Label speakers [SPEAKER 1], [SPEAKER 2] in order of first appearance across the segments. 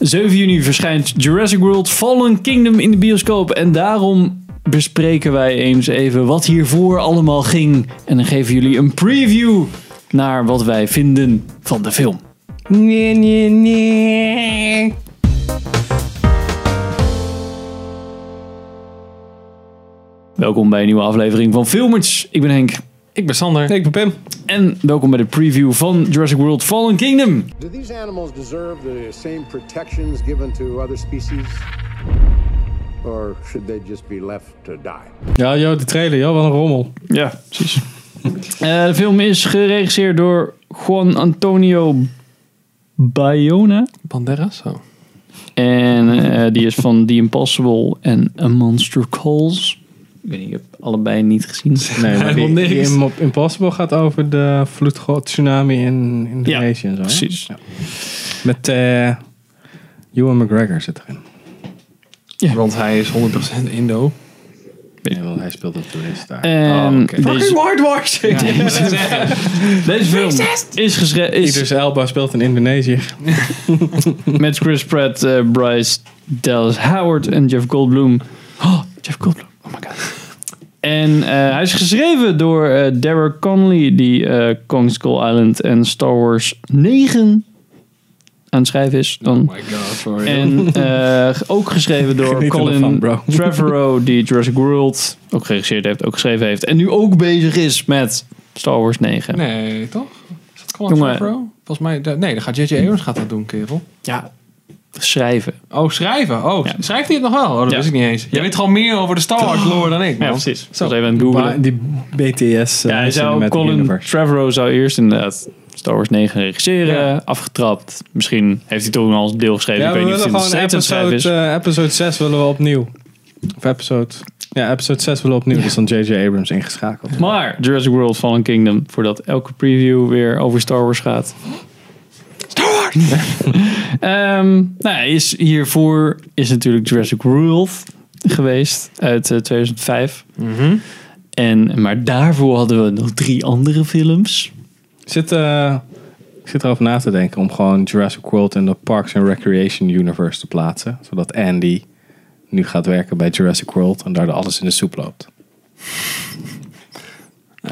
[SPEAKER 1] 7 juni verschijnt Jurassic World Fallen Kingdom in de bioscoop. En daarom bespreken wij eens even wat hiervoor allemaal ging. En dan geven jullie een preview naar wat wij vinden van de film.
[SPEAKER 2] Nee, nee, nee.
[SPEAKER 1] Welkom bij een nieuwe aflevering van Filmers. Ik ben Henk.
[SPEAKER 3] Ik ben Sander.
[SPEAKER 2] Ik ben Pim.
[SPEAKER 1] En welkom bij de preview van Jurassic World Fallen Kingdom.
[SPEAKER 4] Do these animals deserve the same protections given to other species? Or should they just be left to die?
[SPEAKER 2] Ja, joh, de trailer, joh, wat een rommel.
[SPEAKER 1] Ja, precies. Eh, de film is geregisseerd door Juan Antonio Bayona.
[SPEAKER 3] Banderas? Oh.
[SPEAKER 1] En eh, die is van The Impossible en A Monster Calls. Ik weet niet, ik heb allebei niet gezien.
[SPEAKER 2] Nee,
[SPEAKER 3] maar die-
[SPEAKER 2] die,
[SPEAKER 3] niks.
[SPEAKER 2] Im- Impossible gaat over de vloedgod tsunami in Indonesië en zo. hè?
[SPEAKER 1] precies.
[SPEAKER 2] Ja. Met eh Ewan McGregor zit erin.
[SPEAKER 3] Want hij is 100% Indo.
[SPEAKER 2] Nee, want hij speelt een toerist daar.
[SPEAKER 1] En
[SPEAKER 3] Oh, oké.
[SPEAKER 1] deze,
[SPEAKER 2] whitewashing!
[SPEAKER 1] deze film is, geschre- is
[SPEAKER 2] Idris Elba speelt in Indonesië.
[SPEAKER 1] met Chris Pratt, eh, Bryce Dallas Howard en Jeff Goldblum. Oh, Jeff Goldblum. Oh my god. En eh, hij is geschreven door eh Derek Connolly, die eh Kong Skull Island en Star Wars 9 aan het schrijven is. Dan
[SPEAKER 3] Oh my god, sorry.
[SPEAKER 1] En eh, ook geschreven door
[SPEAKER 2] Geniet er nog van,
[SPEAKER 1] Colin
[SPEAKER 2] bro.
[SPEAKER 1] Trevorrow, die Jurassic World ook geregisseerd heeft, ook geschreven heeft. En nu ook bezig is met Star Wars 9.
[SPEAKER 3] Nee, toch? Is dat Colin
[SPEAKER 1] Jongen.
[SPEAKER 3] Trevorrow? Volgens mij... de- Nee, dan gaat J.J. Abrams gaat dat doen, kerel.
[SPEAKER 1] Ja, schrijven.
[SPEAKER 3] Oh, schrijven. Oh,
[SPEAKER 1] Ja.
[SPEAKER 3] schrijft hij het nog wel? Oh, dat
[SPEAKER 1] Ja.
[SPEAKER 3] wist ik niet eens. Jij weet gewoon meer over de Star Wars lore dan ik, man.
[SPEAKER 1] Ik was even aan het googlen.
[SPEAKER 2] Die BTS. eh,
[SPEAKER 1] Ja, hij zou,
[SPEAKER 2] Cinematic
[SPEAKER 1] Colin
[SPEAKER 2] Universe.
[SPEAKER 1] Trevorrow zou eerst inderdaad Star Wars 9 regisseren,
[SPEAKER 3] Ja.
[SPEAKER 1] afgetrapt. Misschien heeft hij toch nog als deel geschreven.
[SPEAKER 2] Ja,
[SPEAKER 1] ik
[SPEAKER 2] we
[SPEAKER 1] weet niet of
[SPEAKER 2] willen
[SPEAKER 1] hij nog
[SPEAKER 2] gewoon
[SPEAKER 1] steeds aan het
[SPEAKER 2] episode,
[SPEAKER 1] schrijven is.
[SPEAKER 2] eh, episode 6 willen we opnieuw. Of episode... Ja, episode 6 willen we opnieuw. Dus dan J.J. Abrams ingeschakeld.
[SPEAKER 1] Maar Jurassic World Fallen Kingdom, voordat elke preview weer over Star Wars gaat. Star Wars! nou ja, is, hiervoor is natuurlijk Jurassic World geweest uit eh, 2005.
[SPEAKER 3] Mhm.
[SPEAKER 1] En, maar daarvoor hadden we nog drie andere films.
[SPEAKER 2] Ik zit, eh, ik zit erover na te denken om gewoon Jurassic World in de Parks and Recreation Universe te plaatsen. Zodat Andy nu gaat werken bij Jurassic World en daar alles in de soep loopt.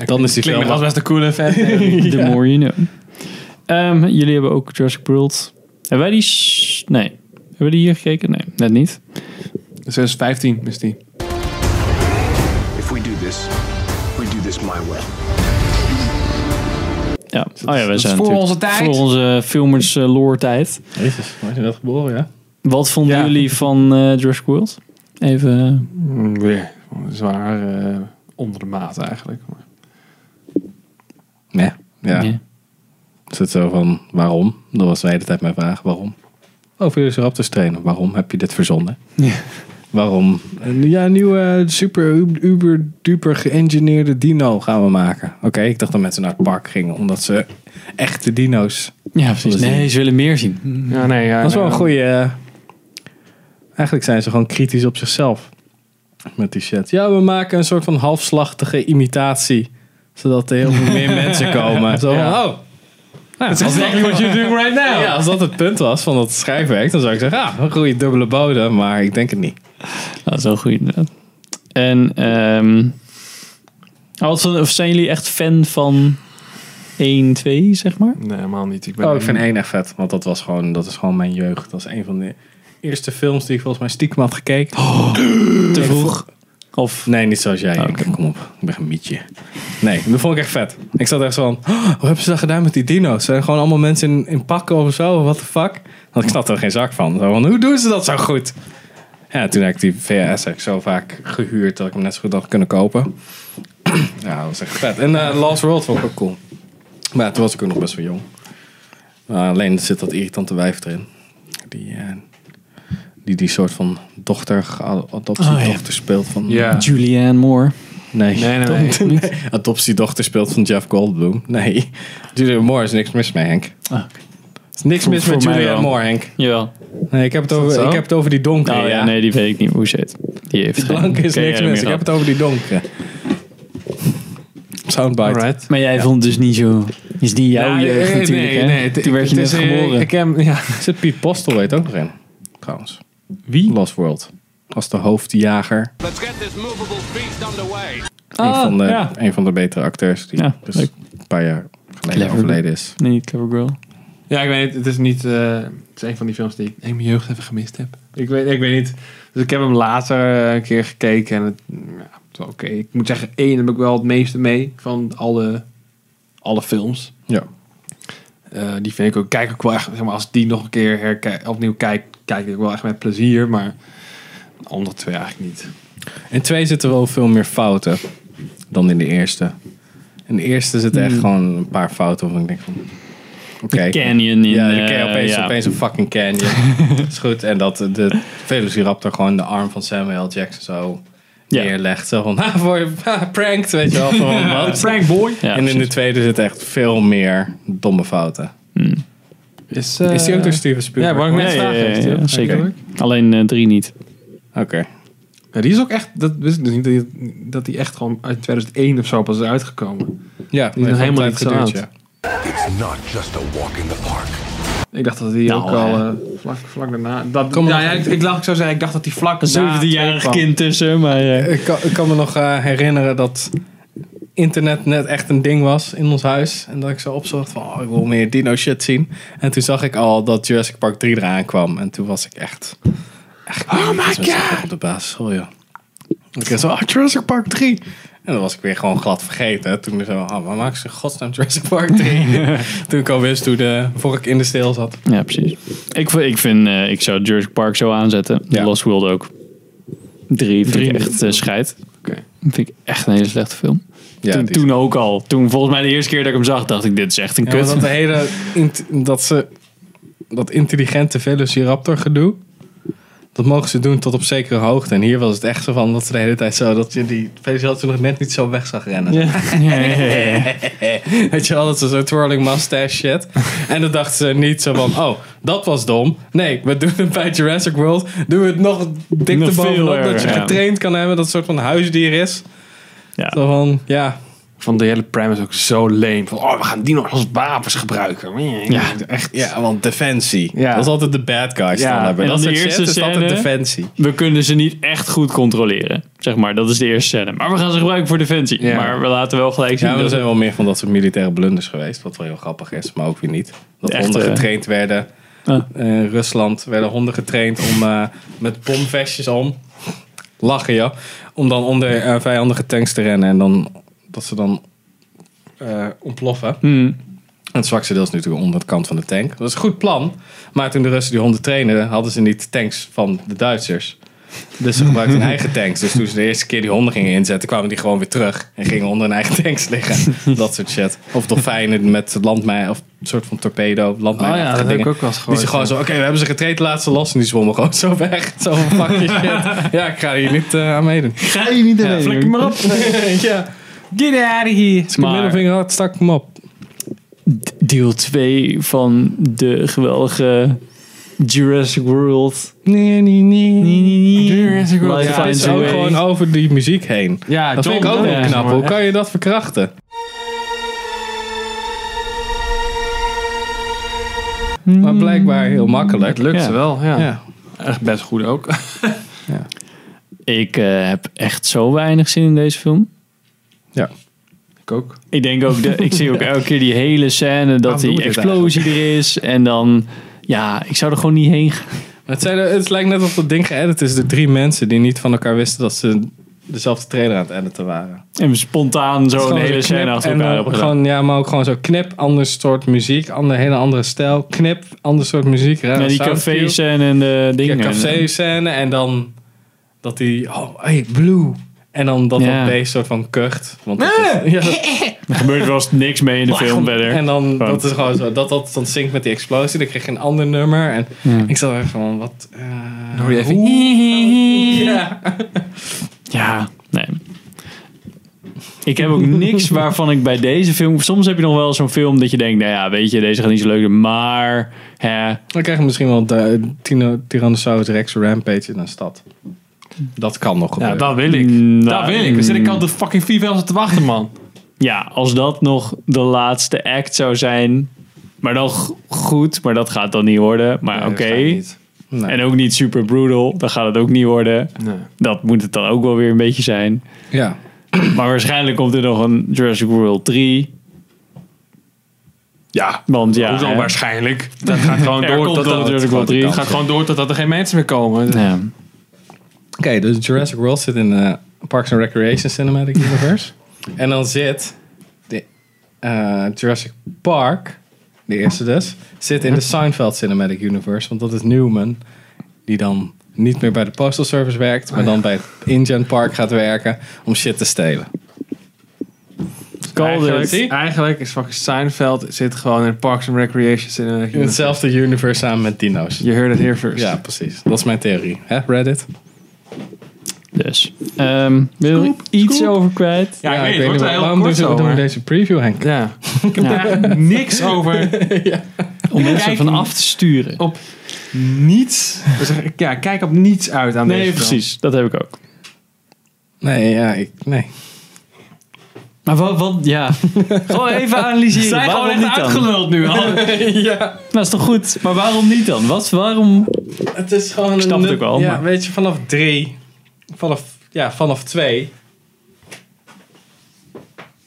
[SPEAKER 2] Dan is die
[SPEAKER 3] Klinkt
[SPEAKER 2] film...
[SPEAKER 3] nog als best een coole fan.
[SPEAKER 1] The More You Know. Ehm, jullie hebben ook Jurassic World. Hebben wij die... s- Nee. Hebben we die hier gekeken? Nee, net niet.
[SPEAKER 3] 2015 is die.
[SPEAKER 5] If we do this, we do this my way.
[SPEAKER 1] Ja. Oh ja, we zijn
[SPEAKER 3] voor
[SPEAKER 1] natuurlijk-
[SPEAKER 3] onze tijd.
[SPEAKER 1] Voor onze filmers eh, lore tijd.
[SPEAKER 2] Jezus, was je net geboren, ja?
[SPEAKER 1] Wat vonden
[SPEAKER 3] Ja.
[SPEAKER 1] jullie van eh Jurassic World? Even.
[SPEAKER 3] Mm, Weer zwaar eh, onder de maat eigenlijk. Maar-
[SPEAKER 2] Nee. Ja.
[SPEAKER 1] Ja.
[SPEAKER 2] Ik zit zo van, waarom? Dat was de hele tijd mijn vraag, waarom? Oh, Over Velociraptors trainen, waarom heb je dit verzonnen? Waarom? Een, ja, een nieuwe eh, super ub- uber duper geëngineerde dino gaan we maken. Oké, ik dacht dat mensen naar het park gingen omdat ze echte dino's...
[SPEAKER 1] ja, precies.
[SPEAKER 2] Willen
[SPEAKER 1] Nee,
[SPEAKER 2] zien.
[SPEAKER 1] ze willen meer zien.
[SPEAKER 3] Ja, nee. Ja,
[SPEAKER 2] Mhm. Dat is wel
[SPEAKER 3] nee,
[SPEAKER 2] een goeie... eh, Eigenlijk zijn ze gewoon kritisch op zichzelf met die shit. Ja, we maken een soort van halfslachtige imitatie, zodat er heel veel meer mensen komen. Zo van,
[SPEAKER 3] Ja.
[SPEAKER 2] oh, dat is exactly what you're doing right now. Ja, als dat het punt was van dat schrijfwerk, dan zou ik zeggen, ah, een goede dubbele bodem, maar ik denk het niet.
[SPEAKER 1] Dat is wel goed, inderdaad. En, ehm ah, wat van, of zijn jullie echt fan van 1, 2, zeg maar?
[SPEAKER 3] Nee, helemaal niet. Ik ben
[SPEAKER 2] Oh, ik vind één echt vet, want dat was gewoon, dat is gewoon mijn jeugd. Dat is een van de eerste films die ik volgens mij stiekem had gekeken.
[SPEAKER 1] Te vroeg. Of.
[SPEAKER 2] Nee, niet zoals jij.
[SPEAKER 1] Oh,
[SPEAKER 2] Ik- Kom op, ik ben een mietje. Nee, dat vond ik echt vet. Ik zat echt zo van, "Oh, hoe hebben ze dat gedaan met die dino's? Zijn er gewoon allemaal mensen in, in pakken of zo? What the fuck? Want ik snapte er geen zak van. Zo van, hoe doen ze dat zo goed? Ja, toen heb ik die VHS eigenlijk zo vaak gehuurd dat ik hem net zo goed had kunnen kopen. ja, dat was echt vet. En eh, Last World vond ik ook cool. Maar ja, toen was ik ook nog best wel jong. Maar alleen zit dat irritante wijf erin. Die, eh, die die soort van dochter,
[SPEAKER 1] Oh,
[SPEAKER 2] adoptiedochter speelt van...
[SPEAKER 3] Ja.
[SPEAKER 1] Julianne Moore.
[SPEAKER 2] Nee.
[SPEAKER 3] Nee, nee, nee.
[SPEAKER 2] nee. Adoptiedochter speelt van Jeff Goldblum. Nee. Julianne Moore is niks mis mee, Henk. Er is niks
[SPEAKER 1] Ah, Voor-
[SPEAKER 2] mis
[SPEAKER 1] voor
[SPEAKER 2] met
[SPEAKER 1] mij
[SPEAKER 2] Julianne
[SPEAKER 1] wel.
[SPEAKER 2] Moore, Henk.
[SPEAKER 1] Jawel.
[SPEAKER 2] Nee, ik heb het over,
[SPEAKER 3] zo?
[SPEAKER 2] ik heb het over die donkere.
[SPEAKER 1] Nou ja,
[SPEAKER 2] Oh, ja.
[SPEAKER 1] nee, die weet ik niet hoe ze heet. Die heeft
[SPEAKER 2] Die
[SPEAKER 1] geen-
[SPEAKER 2] blanke is
[SPEAKER 1] geen
[SPEAKER 2] niks
[SPEAKER 1] idee
[SPEAKER 2] mis.
[SPEAKER 1] meer
[SPEAKER 2] Ik
[SPEAKER 1] gehad.
[SPEAKER 2] heb het over die donkere. Soundbite.
[SPEAKER 3] Alright.
[SPEAKER 1] Maar jij vond dus niet zo. Is die jouw
[SPEAKER 3] Ja,
[SPEAKER 1] jeugd
[SPEAKER 3] nee,
[SPEAKER 2] eh,
[SPEAKER 1] natuurlijk?
[SPEAKER 3] nee,
[SPEAKER 1] hè?
[SPEAKER 3] nee.
[SPEAKER 1] Toen werd je
[SPEAKER 3] Het
[SPEAKER 1] net
[SPEAKER 3] is, eh,
[SPEAKER 1] geboren.
[SPEAKER 3] Ik heb, ja,
[SPEAKER 2] Zit Piet Postel weet ook nog in. trouwens. Wie? Lost World. Als de hoofdjager.
[SPEAKER 5] Let's get this movable feast underway.
[SPEAKER 2] een, van de,
[SPEAKER 1] Ah, ja.
[SPEAKER 2] een van de betere acteurs die
[SPEAKER 1] Ja,
[SPEAKER 2] dus
[SPEAKER 1] leuk.
[SPEAKER 2] een paar jaar geleden
[SPEAKER 1] Clever.
[SPEAKER 2] overleden is.
[SPEAKER 1] Nee, niet Clever Girl.
[SPEAKER 3] Ja, ik weet niet. Het is niet. eh, het is een van die films die ik in mijn jeugd even gemist heb. Ik weet, ik weet niet. Dus ik heb hem later eh, een keer gekeken en het. mm, Ja, het was oké. Ik moet zeggen, één heb ik wel het meeste mee van alle, alle films.
[SPEAKER 2] Ja.
[SPEAKER 3] Eh, die vind ik ook, kijk ook wel echt, zeg maar, als ik die nog een keer herkijk, opnieuw kijk, kijk ik wel echt met plezier, maar de andere twee eigenlijk niet.
[SPEAKER 2] In twee zitten wel veel meer fouten dan in de eerste. In de eerste zitten echt gewoon een paar fouten waarvan ik denk van... Oké.
[SPEAKER 1] Canyon in...
[SPEAKER 2] Ja,
[SPEAKER 1] eh,
[SPEAKER 2] dan ken je opeens,
[SPEAKER 1] ja.
[SPEAKER 2] opeens een fucking canyon. is goed. En dat de Velociraptor gewoon de arm van Samuel L. Jackson zo
[SPEAKER 1] Ja.
[SPEAKER 2] neerlegt. Zo van, ha, voor je ha, pranked, weet je wel. Van, wat?
[SPEAKER 3] Frank Boy.
[SPEAKER 1] Ja,
[SPEAKER 2] en in de
[SPEAKER 1] precies.
[SPEAKER 2] tweede zit echt veel meer domme fouten.
[SPEAKER 3] Is, eh,
[SPEAKER 2] is die ook door Steven
[SPEAKER 3] Ja,
[SPEAKER 2] Spielberg?
[SPEAKER 3] wou ik net
[SPEAKER 1] Nee,
[SPEAKER 3] vragen.
[SPEAKER 1] ja,
[SPEAKER 3] is
[SPEAKER 1] ja,
[SPEAKER 3] die ook?
[SPEAKER 1] ja, zeker. Alleen eh, drie niet.
[SPEAKER 2] Oké.
[SPEAKER 3] Ja, die is ook echt, dat wist ik dus niet, dat die- dat die echt gewoon uit 2001 of zo pas is uitgekomen.
[SPEAKER 2] Ja,
[SPEAKER 3] Die is nog helemaal niet zo oud.
[SPEAKER 2] ja.
[SPEAKER 5] It's not just a walk in the park.
[SPEAKER 3] Ik dacht dat die
[SPEAKER 1] Nou,
[SPEAKER 3] ook al
[SPEAKER 1] hè.
[SPEAKER 3] eh, vlak, vlak daarna... Dat,
[SPEAKER 2] Kom maar
[SPEAKER 3] ja,
[SPEAKER 2] nog
[SPEAKER 3] ja, ik, ik, laat ik zo zeggen, ik dacht dat die vlak
[SPEAKER 1] Een
[SPEAKER 3] na
[SPEAKER 1] zeventienjarig
[SPEAKER 3] kwam.
[SPEAKER 1] kind tussen, maar... eh,
[SPEAKER 2] Ik kan, ik kan me nog eh, herinneren dat internet net echt een ding was in ons huis. En dat ik zo opzocht van, oh, ik wil meer dino shit zien. En toen zag ik al dat Jurassic Park 3 eraan kwam. En toen was ik echt... echt oh my god! Op de basisschool, ja. Ik was zo, oh, Jurassic Park 3! En dan was ik weer gewoon glad vergeten. Toen ik zo, oh, waar maken ze in godsnaam Jurassic Park 3? toen ik al wist hoe de vork in de steel zat.
[SPEAKER 1] Ja, precies. Ik, v- ik, vind, eh, ik zou Jurassic Park zo aanzetten.
[SPEAKER 2] Ja.
[SPEAKER 1] Lost World ook. Drie vind
[SPEAKER 3] Drie.
[SPEAKER 1] ik echt eh, scheid.
[SPEAKER 3] Oké.
[SPEAKER 1] Vind ik echt een hele slechte film.
[SPEAKER 2] Ja,
[SPEAKER 1] toen,
[SPEAKER 2] die-
[SPEAKER 1] toen ook al. Toen volgens mij de eerste keer dat ik hem zag, dacht ik, dit is echt een
[SPEAKER 2] Ja, maar
[SPEAKER 1] kut.
[SPEAKER 2] dat de hele int- dat ze dat intelligente Velociraptor gedoe. Dat mogen ze doen tot op zekere hoogte. En hier was het echt zo van dat ze de hele tijd zo dat je die Velociraptor nog net niet zo weg zag rennen. Weet je wel, dat ze zo twirling mustache shit. En dan dachten ze niet zo van, oh, dat was dom. Nee, we doen het bij Jurassic World. Doen we het nog
[SPEAKER 1] Nog
[SPEAKER 2] dikter
[SPEAKER 1] veel
[SPEAKER 2] bovenop. Dat je
[SPEAKER 1] erger, ja.
[SPEAKER 2] getraind kan hebben, dat het een soort van huisdier is.
[SPEAKER 1] Ja.
[SPEAKER 2] Zo van, ja,
[SPEAKER 3] Van de hele premise ook zo leem. Van, oh, we gaan dino's als wapens gebruiken.
[SPEAKER 1] Ja.
[SPEAKER 3] echt.
[SPEAKER 2] Ja, want defensie.
[SPEAKER 3] Ja.
[SPEAKER 2] Dat is altijd de bad guy
[SPEAKER 3] Ja,
[SPEAKER 2] staan hebben.
[SPEAKER 1] en
[SPEAKER 2] Dat
[SPEAKER 1] dan
[SPEAKER 2] soort
[SPEAKER 1] de
[SPEAKER 2] shit
[SPEAKER 1] eerste
[SPEAKER 2] is altijd
[SPEAKER 1] scène.
[SPEAKER 2] defensie.
[SPEAKER 1] We kunnen ze niet echt goed controleren. Zeg maar, dat is de eerste scène. Maar we gaan ze gebruiken voor defensie.
[SPEAKER 3] Ja.
[SPEAKER 1] Maar we laten wel gelijk zien
[SPEAKER 2] Ja, maar er
[SPEAKER 1] dat
[SPEAKER 2] zijn wel meer van dat soort militaire blunders geweest. Wat wel heel grappig is, maar ook weer niet. Dat
[SPEAKER 1] De echte-
[SPEAKER 2] honden getraind werden.
[SPEAKER 1] Ah.
[SPEAKER 2] Eh, Rusland werden honden getraind om eh, met bomvestjes om. Lachen, ja. Om dan onder eh, vijandige tanks te rennen. En dan dat ze dan eh, ontploffen.
[SPEAKER 1] Hmm.
[SPEAKER 2] En Het zwakste deel is natuurlijk onder de kant van de tank. Dat is een goed plan. Maar toen de Russen die honden trainden, hadden ze niet tanks van de Duitsers. Dus ze gebruikten hun eigen tanks. Dus toen ze de eerste keer die honden gingen inzetten, kwamen die gewoon weer terug. En gingen onder hun eigen tanks liggen. Dat soort shit. Of dolfijnen met landmijn, of een soort van torpedo, landmijn.
[SPEAKER 3] Oh ja, dat heb ik ook wel eens
[SPEAKER 2] Die
[SPEAKER 3] gehoord,
[SPEAKER 2] ze gewoon
[SPEAKER 3] ja.
[SPEAKER 2] zo, oké, we hebben ze getraind, laat ze los. En die zwommen gewoon zo weg. Zo van, fuck je shit. Ja, ik ga hier niet eh, aan meedoen.
[SPEAKER 1] ga je niet
[SPEAKER 2] Ja, flikker maar op. ja.
[SPEAKER 3] Get out of here.
[SPEAKER 2] Dus ik mijn middelvinger had, stak hem op.
[SPEAKER 1] Deel 2 van de geweldige Jurassic World.
[SPEAKER 2] Nee, nee, nee.
[SPEAKER 3] Jurassic World.
[SPEAKER 1] Life
[SPEAKER 3] Ja,
[SPEAKER 2] Het
[SPEAKER 1] finds
[SPEAKER 2] is
[SPEAKER 1] a
[SPEAKER 2] ook
[SPEAKER 1] way.
[SPEAKER 2] gewoon over die muziek heen.
[SPEAKER 3] Ja,
[SPEAKER 2] dat
[SPEAKER 3] John
[SPEAKER 2] vind ik ook wel
[SPEAKER 3] Williams,
[SPEAKER 2] knap.
[SPEAKER 3] maar
[SPEAKER 2] Hoe
[SPEAKER 3] echt.
[SPEAKER 2] kan je dat verkrachten? Maar blijkbaar heel makkelijk.
[SPEAKER 3] Lukt
[SPEAKER 1] Ja.
[SPEAKER 3] ze wel, ja.
[SPEAKER 2] Hmm. Ja.
[SPEAKER 3] Echt best goed ook.
[SPEAKER 1] Ik eh, heb echt zo weinig zin in deze film.
[SPEAKER 2] Ja.
[SPEAKER 3] ik ook.
[SPEAKER 1] Ik denk ook, de, ik zie ook elke keer die hele scène dat
[SPEAKER 2] Waarom doen
[SPEAKER 1] die
[SPEAKER 2] we dit
[SPEAKER 1] explosie er is. En dan, ja, ik zou er gewoon niet heen gaan.
[SPEAKER 2] Maar Het, zijn, er- het lijkt net alsof dat ding geëdit is door drie mensen die niet van elkaar wisten dat ze dezelfde trailer aan het editen waren.
[SPEAKER 1] En spontaan
[SPEAKER 2] Het is
[SPEAKER 1] zo'n
[SPEAKER 2] gewoon
[SPEAKER 1] hele
[SPEAKER 2] knip
[SPEAKER 1] scène achter
[SPEAKER 2] en
[SPEAKER 1] elkaar
[SPEAKER 2] dan
[SPEAKER 1] hebben gedaan.
[SPEAKER 2] gewoon, Ja, maar ook gewoon zo knip, ander soort muziek, ander, hele andere stijl. Knip, ander soort muziek. Rare
[SPEAKER 1] Ja, die
[SPEAKER 2] soundcue.
[SPEAKER 1] cafés en de dingen.
[SPEAKER 2] Ja, café-scène en dan dat die, oh, hey, blue. En dan dat
[SPEAKER 1] Ja.
[SPEAKER 2] dat beest soort van kucht. Want dat is- ja, dat-
[SPEAKER 1] Er gebeurt wel eens niks mee in de film verder.
[SPEAKER 2] En dan dat is gewoon zo, dat dat dan zinkt met die explosie. Dan kreeg je een ander nummer. En ik zat er van, wat... eh,
[SPEAKER 3] hoor je even-
[SPEAKER 2] hoe- Ja.
[SPEAKER 1] Ja, nee. Ik heb ook niks waarvan ik bij deze film... Soms heb je nog wel zo'n film dat je denkt... Nou ja, weet je, deze gaat niet zo leuk doen. Maar, hè,
[SPEAKER 2] Dan krijg je misschien wel de Tino, Tyrannosaurus Rex Rampage in een stad. Dat kan nog gebeuren.
[SPEAKER 3] wil
[SPEAKER 1] Nou,
[SPEAKER 3] dat wil ik. Dan zit ik al de fucking vier wel te wachten, man.
[SPEAKER 1] mm, Ja, als dat nog de laatste act zou zijn. Maar dan g- goed, maar dat gaat dan niet worden. Maar oké.
[SPEAKER 3] Nee, dat ga ik niet.
[SPEAKER 2] Nee.
[SPEAKER 1] En ook niet super brutal. Dan gaat het ook niet worden.
[SPEAKER 3] Nee.
[SPEAKER 1] Dat moet het dan ook wel weer een beetje zijn.
[SPEAKER 2] Ja.
[SPEAKER 1] Maar waarschijnlijk komt er nog een Jurassic World 3.
[SPEAKER 3] Ja,
[SPEAKER 1] Want ja,
[SPEAKER 3] hoezo
[SPEAKER 1] hè.
[SPEAKER 3] waarschijnlijk? Dat gaat gewoon
[SPEAKER 1] Er
[SPEAKER 3] door
[SPEAKER 1] komt
[SPEAKER 3] tot
[SPEAKER 1] dan
[SPEAKER 3] dat,
[SPEAKER 1] natuurlijk wel drie.
[SPEAKER 3] Het gaat gewoon door totdat er geen mensen meer komen.
[SPEAKER 1] Ja.
[SPEAKER 2] Oké, dus Jurassic World zit in eh, Parks and Recreation Cinematic Universe. en dan zit de, eh, Jurassic Park, de eerste dus, zit in de Seinfeld Cinematic Universe. Want dat is Newman, die dan niet meer bij de Postal Service werkt,
[SPEAKER 3] Oh,
[SPEAKER 2] maar dan bij het InGen Park gaat werken om shit te stelen.
[SPEAKER 1] Call
[SPEAKER 3] eigenlijk,
[SPEAKER 1] it.
[SPEAKER 3] eigenlijk is fucking Seinfeld zit gewoon in Parks and Recreation
[SPEAKER 2] In
[SPEAKER 3] Cinematic.
[SPEAKER 2] hetzelfde universe samen met dino's.
[SPEAKER 3] Je heard it here first.
[SPEAKER 2] Ja, precies. Dat is mijn theorie. Hè, Reddit?
[SPEAKER 1] Dus. ehm wil je iets over kwijt?
[SPEAKER 3] Ja, ik weet dus het,
[SPEAKER 2] niet
[SPEAKER 3] wordt wel
[SPEAKER 2] waar-
[SPEAKER 3] heel
[SPEAKER 2] waarom
[SPEAKER 3] kort
[SPEAKER 2] doen
[SPEAKER 3] zo,
[SPEAKER 2] we- doen we
[SPEAKER 3] maar-
[SPEAKER 2] deze preview, Henk?
[SPEAKER 3] Ja. Ik heb daar eigenlijk niks over.
[SPEAKER 1] Om mensen
[SPEAKER 3] kijk-
[SPEAKER 1] van af te
[SPEAKER 2] Oh,
[SPEAKER 1] sturen.
[SPEAKER 3] Op niets. Dus ik- ja, kijk op niets uit aan deze
[SPEAKER 1] Nee,
[SPEAKER 3] film.
[SPEAKER 1] precies. Dat heb ik ook.
[SPEAKER 2] Nee, ja, ik, nee.
[SPEAKER 1] Maar wat, wat ja. gewoon even analyseren.
[SPEAKER 3] Zijn
[SPEAKER 1] waarom
[SPEAKER 3] gewoon
[SPEAKER 1] niet
[SPEAKER 3] echt
[SPEAKER 1] dan?
[SPEAKER 3] uitgeluld nu al.
[SPEAKER 1] Dat is toch goed? Maar waarom niet dan? Wat, waarom?
[SPEAKER 2] Het is gewoon
[SPEAKER 1] snap
[SPEAKER 2] een
[SPEAKER 1] het ook wel,
[SPEAKER 2] Ja,
[SPEAKER 1] maar-
[SPEAKER 2] weet je, vanaf drie, vanaf, ja, vanaf twee.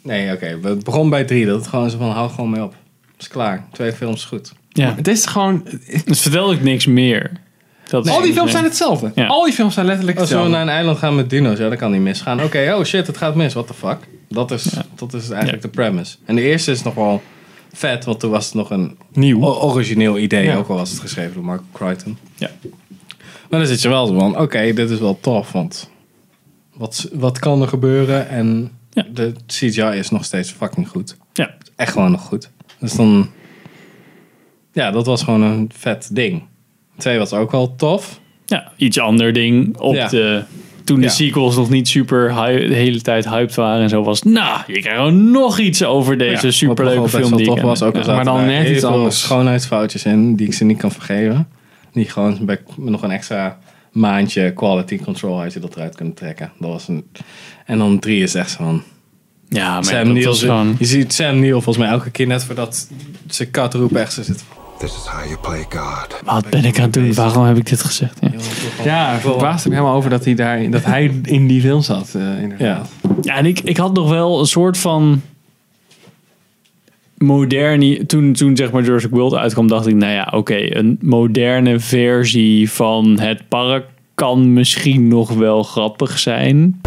[SPEAKER 2] Nee, oké, het begon bij drie. Dat het gewoon zo van, hou gewoon mee op. Het is klaar. Twee films, goed.
[SPEAKER 1] Ja.
[SPEAKER 3] Het is gewoon...
[SPEAKER 1] Het vertelt ook niks meer. Dat is-
[SPEAKER 3] al die films zijn hetzelfde.
[SPEAKER 1] Ja.
[SPEAKER 3] Al die films zijn letterlijk
[SPEAKER 2] Als we
[SPEAKER 3] hetzelfde.
[SPEAKER 2] naar een eiland gaan met dino's, ja, dat kan niet misgaan. Oké, oh shit, het gaat mis. What the fuck? Dat is, dat is eigenlijk de premise. En de eerste is nog wel vet, want toen was het nog een
[SPEAKER 1] Nieuw.
[SPEAKER 2] o- origineel idee.
[SPEAKER 3] Ja.
[SPEAKER 2] Ook al was het geschreven door Mark Crichton.
[SPEAKER 1] Ja.
[SPEAKER 2] Maar dan zit je wel zo van, oké, dit is wel tof, want wat, wat kan er gebeuren? En
[SPEAKER 1] Ja.
[SPEAKER 2] de CGI is nog steeds fucking goed.
[SPEAKER 1] Ja.
[SPEAKER 2] Echt gewoon nog goed. Dus dan, ja, dat was gewoon een vet ding. Twee was ook wel tof.
[SPEAKER 1] ja, iets ander ding. Op
[SPEAKER 2] Ja.
[SPEAKER 1] de, toen de
[SPEAKER 2] Ja.
[SPEAKER 1] sequels nog niet super hy- de hele tijd hyped waren en zo was. Nou, je krijgt gewoon nog iets over deze
[SPEAKER 2] Ja,
[SPEAKER 1] superleuke
[SPEAKER 2] wat nog wel best
[SPEAKER 1] film
[SPEAKER 2] wel
[SPEAKER 1] die
[SPEAKER 2] tof
[SPEAKER 1] ik
[SPEAKER 2] was.
[SPEAKER 1] ken.
[SPEAKER 2] Ook al
[SPEAKER 1] Ja.
[SPEAKER 2] zaten
[SPEAKER 3] maar dan
[SPEAKER 2] daar
[SPEAKER 3] net
[SPEAKER 2] heel
[SPEAKER 3] iets
[SPEAKER 2] veel
[SPEAKER 3] anders.
[SPEAKER 2] schoonheidsfoutjes in die ik ze niet kan vergeven. Die gewoon bij nog een extra maandje quality control had je dat eruit kunnen trekken. Dat was een... En dan drie is echt zo van...
[SPEAKER 1] Ja, maar
[SPEAKER 2] Sam
[SPEAKER 1] dat
[SPEAKER 2] Neill,
[SPEAKER 1] was gewoon...
[SPEAKER 2] Je ziet Sam Neill volgens mij elke keer net voordat ze kat roepen echt zo zitten.
[SPEAKER 5] This is how you play God.
[SPEAKER 1] Wat ben ik aan het doen? Waarom heb ik dit gezegd? Ja,
[SPEAKER 3] Ja, ik verbaasde me helemaal over dat hij, daar, dat hij in die film zat. eh, inderdaad.
[SPEAKER 2] Ja.
[SPEAKER 1] ja en ik, ik had nog wel een soort van... Moderne, toen, toen zeg maar Jurassic World uitkwam, dacht ik, nou ja, oké, een moderne versie van het park kan misschien nog wel grappig zijn.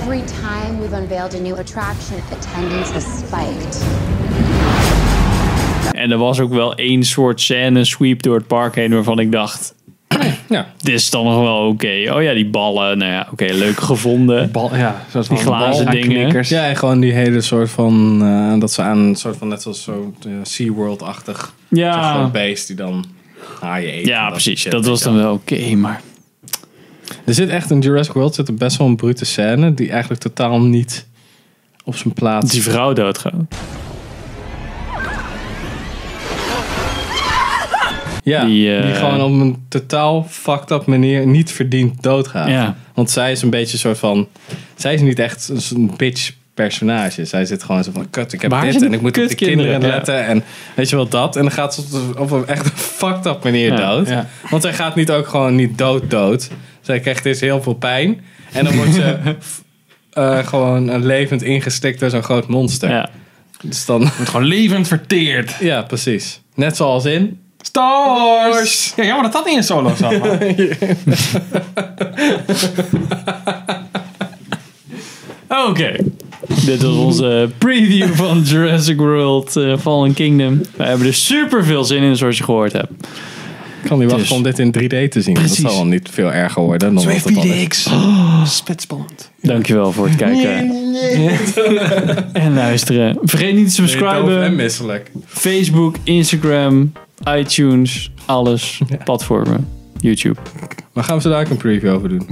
[SPEAKER 6] Every time we've unveiled a new attraction, attendance has spiked.
[SPEAKER 1] En er was ook wel één soort scène sweep door het park heen waarvan ik dacht,
[SPEAKER 2] Ja.
[SPEAKER 1] dit is dan nog wel oké. Oh ja, die ballen, nou ja, oké, leuk gevonden.
[SPEAKER 3] Bal, ja, zoals
[SPEAKER 1] Die glazen dingen.
[SPEAKER 2] ja, en gewoon die hele soort van... eh, dat ze aan een soort van net zoals zo'n eh, SeaWorld-achtig... zo'n
[SPEAKER 1] Ja,
[SPEAKER 2] groot beest die dan haaien eet. en
[SPEAKER 1] ja precies.
[SPEAKER 2] shit,
[SPEAKER 1] Dat
[SPEAKER 2] weet
[SPEAKER 1] was
[SPEAKER 2] je
[SPEAKER 1] dan wel oké, maar
[SPEAKER 2] Er zit echt in Jurassic World zit er best wel een brute scène die eigenlijk totaal niet op zijn plaats.
[SPEAKER 1] die vrouw doodgaan.
[SPEAKER 2] ja,
[SPEAKER 1] die,
[SPEAKER 2] die,
[SPEAKER 1] eh,
[SPEAKER 2] gewoon op een totaal fucked up manier niet verdiend doodgaat.
[SPEAKER 1] Ja.
[SPEAKER 2] Want zij is een beetje een soort van, zij is niet echt een soort bitch personage. Zij zit gewoon zo van kut, ik heb
[SPEAKER 1] Waar
[SPEAKER 2] dit
[SPEAKER 1] zijn
[SPEAKER 2] en
[SPEAKER 1] die
[SPEAKER 2] ik moet op de
[SPEAKER 1] kutkinderen?
[SPEAKER 2] kinderen
[SPEAKER 1] Ja.
[SPEAKER 2] letten en weet je wel dat. En dan gaat ze op- op een echt een fucked up manier
[SPEAKER 1] Ja,
[SPEAKER 2] dood.
[SPEAKER 3] ja.
[SPEAKER 2] Want zij gaat niet ook gewoon niet dood dood. Zij krijgt dus heel veel pijn en dan wordt ze eh, gewoon eh, levend ingestikt door zo'n groot monster.
[SPEAKER 1] Ja.
[SPEAKER 2] Dus dan,
[SPEAKER 3] Wordt gewoon levend verteerd.
[SPEAKER 2] ja, precies. Net zoals in.
[SPEAKER 3] Star Wars! Ja, jammer dat dat niet in solo zat. maar.
[SPEAKER 1] Oké. Dit was onze preview van Jurassic World eh, Fallen Kingdom. We hebben er super veel zin in, zoals je gehoord hebt.
[SPEAKER 2] Ik kan niet wachten
[SPEAKER 1] Dus-
[SPEAKER 2] om dit in 3D te zien.
[SPEAKER 1] Precies.
[SPEAKER 2] Dat zal wel niet veel erger worden dan wat het al is.
[SPEAKER 3] Spetspannend.
[SPEAKER 1] Dankjewel voor het kijken en luisteren. Vergeet niet te subscriben.
[SPEAKER 2] en misselijk.
[SPEAKER 1] Facebook, Instagram, iTunes, alles. Platformen, YouTube.
[SPEAKER 2] Maar gaan we zo daar ook een preview over doen?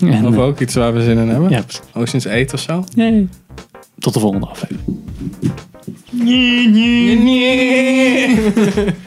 [SPEAKER 1] En,
[SPEAKER 2] Of
[SPEAKER 1] eh,
[SPEAKER 2] ook iets waar we zin in hebben?
[SPEAKER 1] ja,
[SPEAKER 2] Ocean's 8 of zo?
[SPEAKER 1] yay. Tot de volgende aflevering.
[SPEAKER 2] Nee.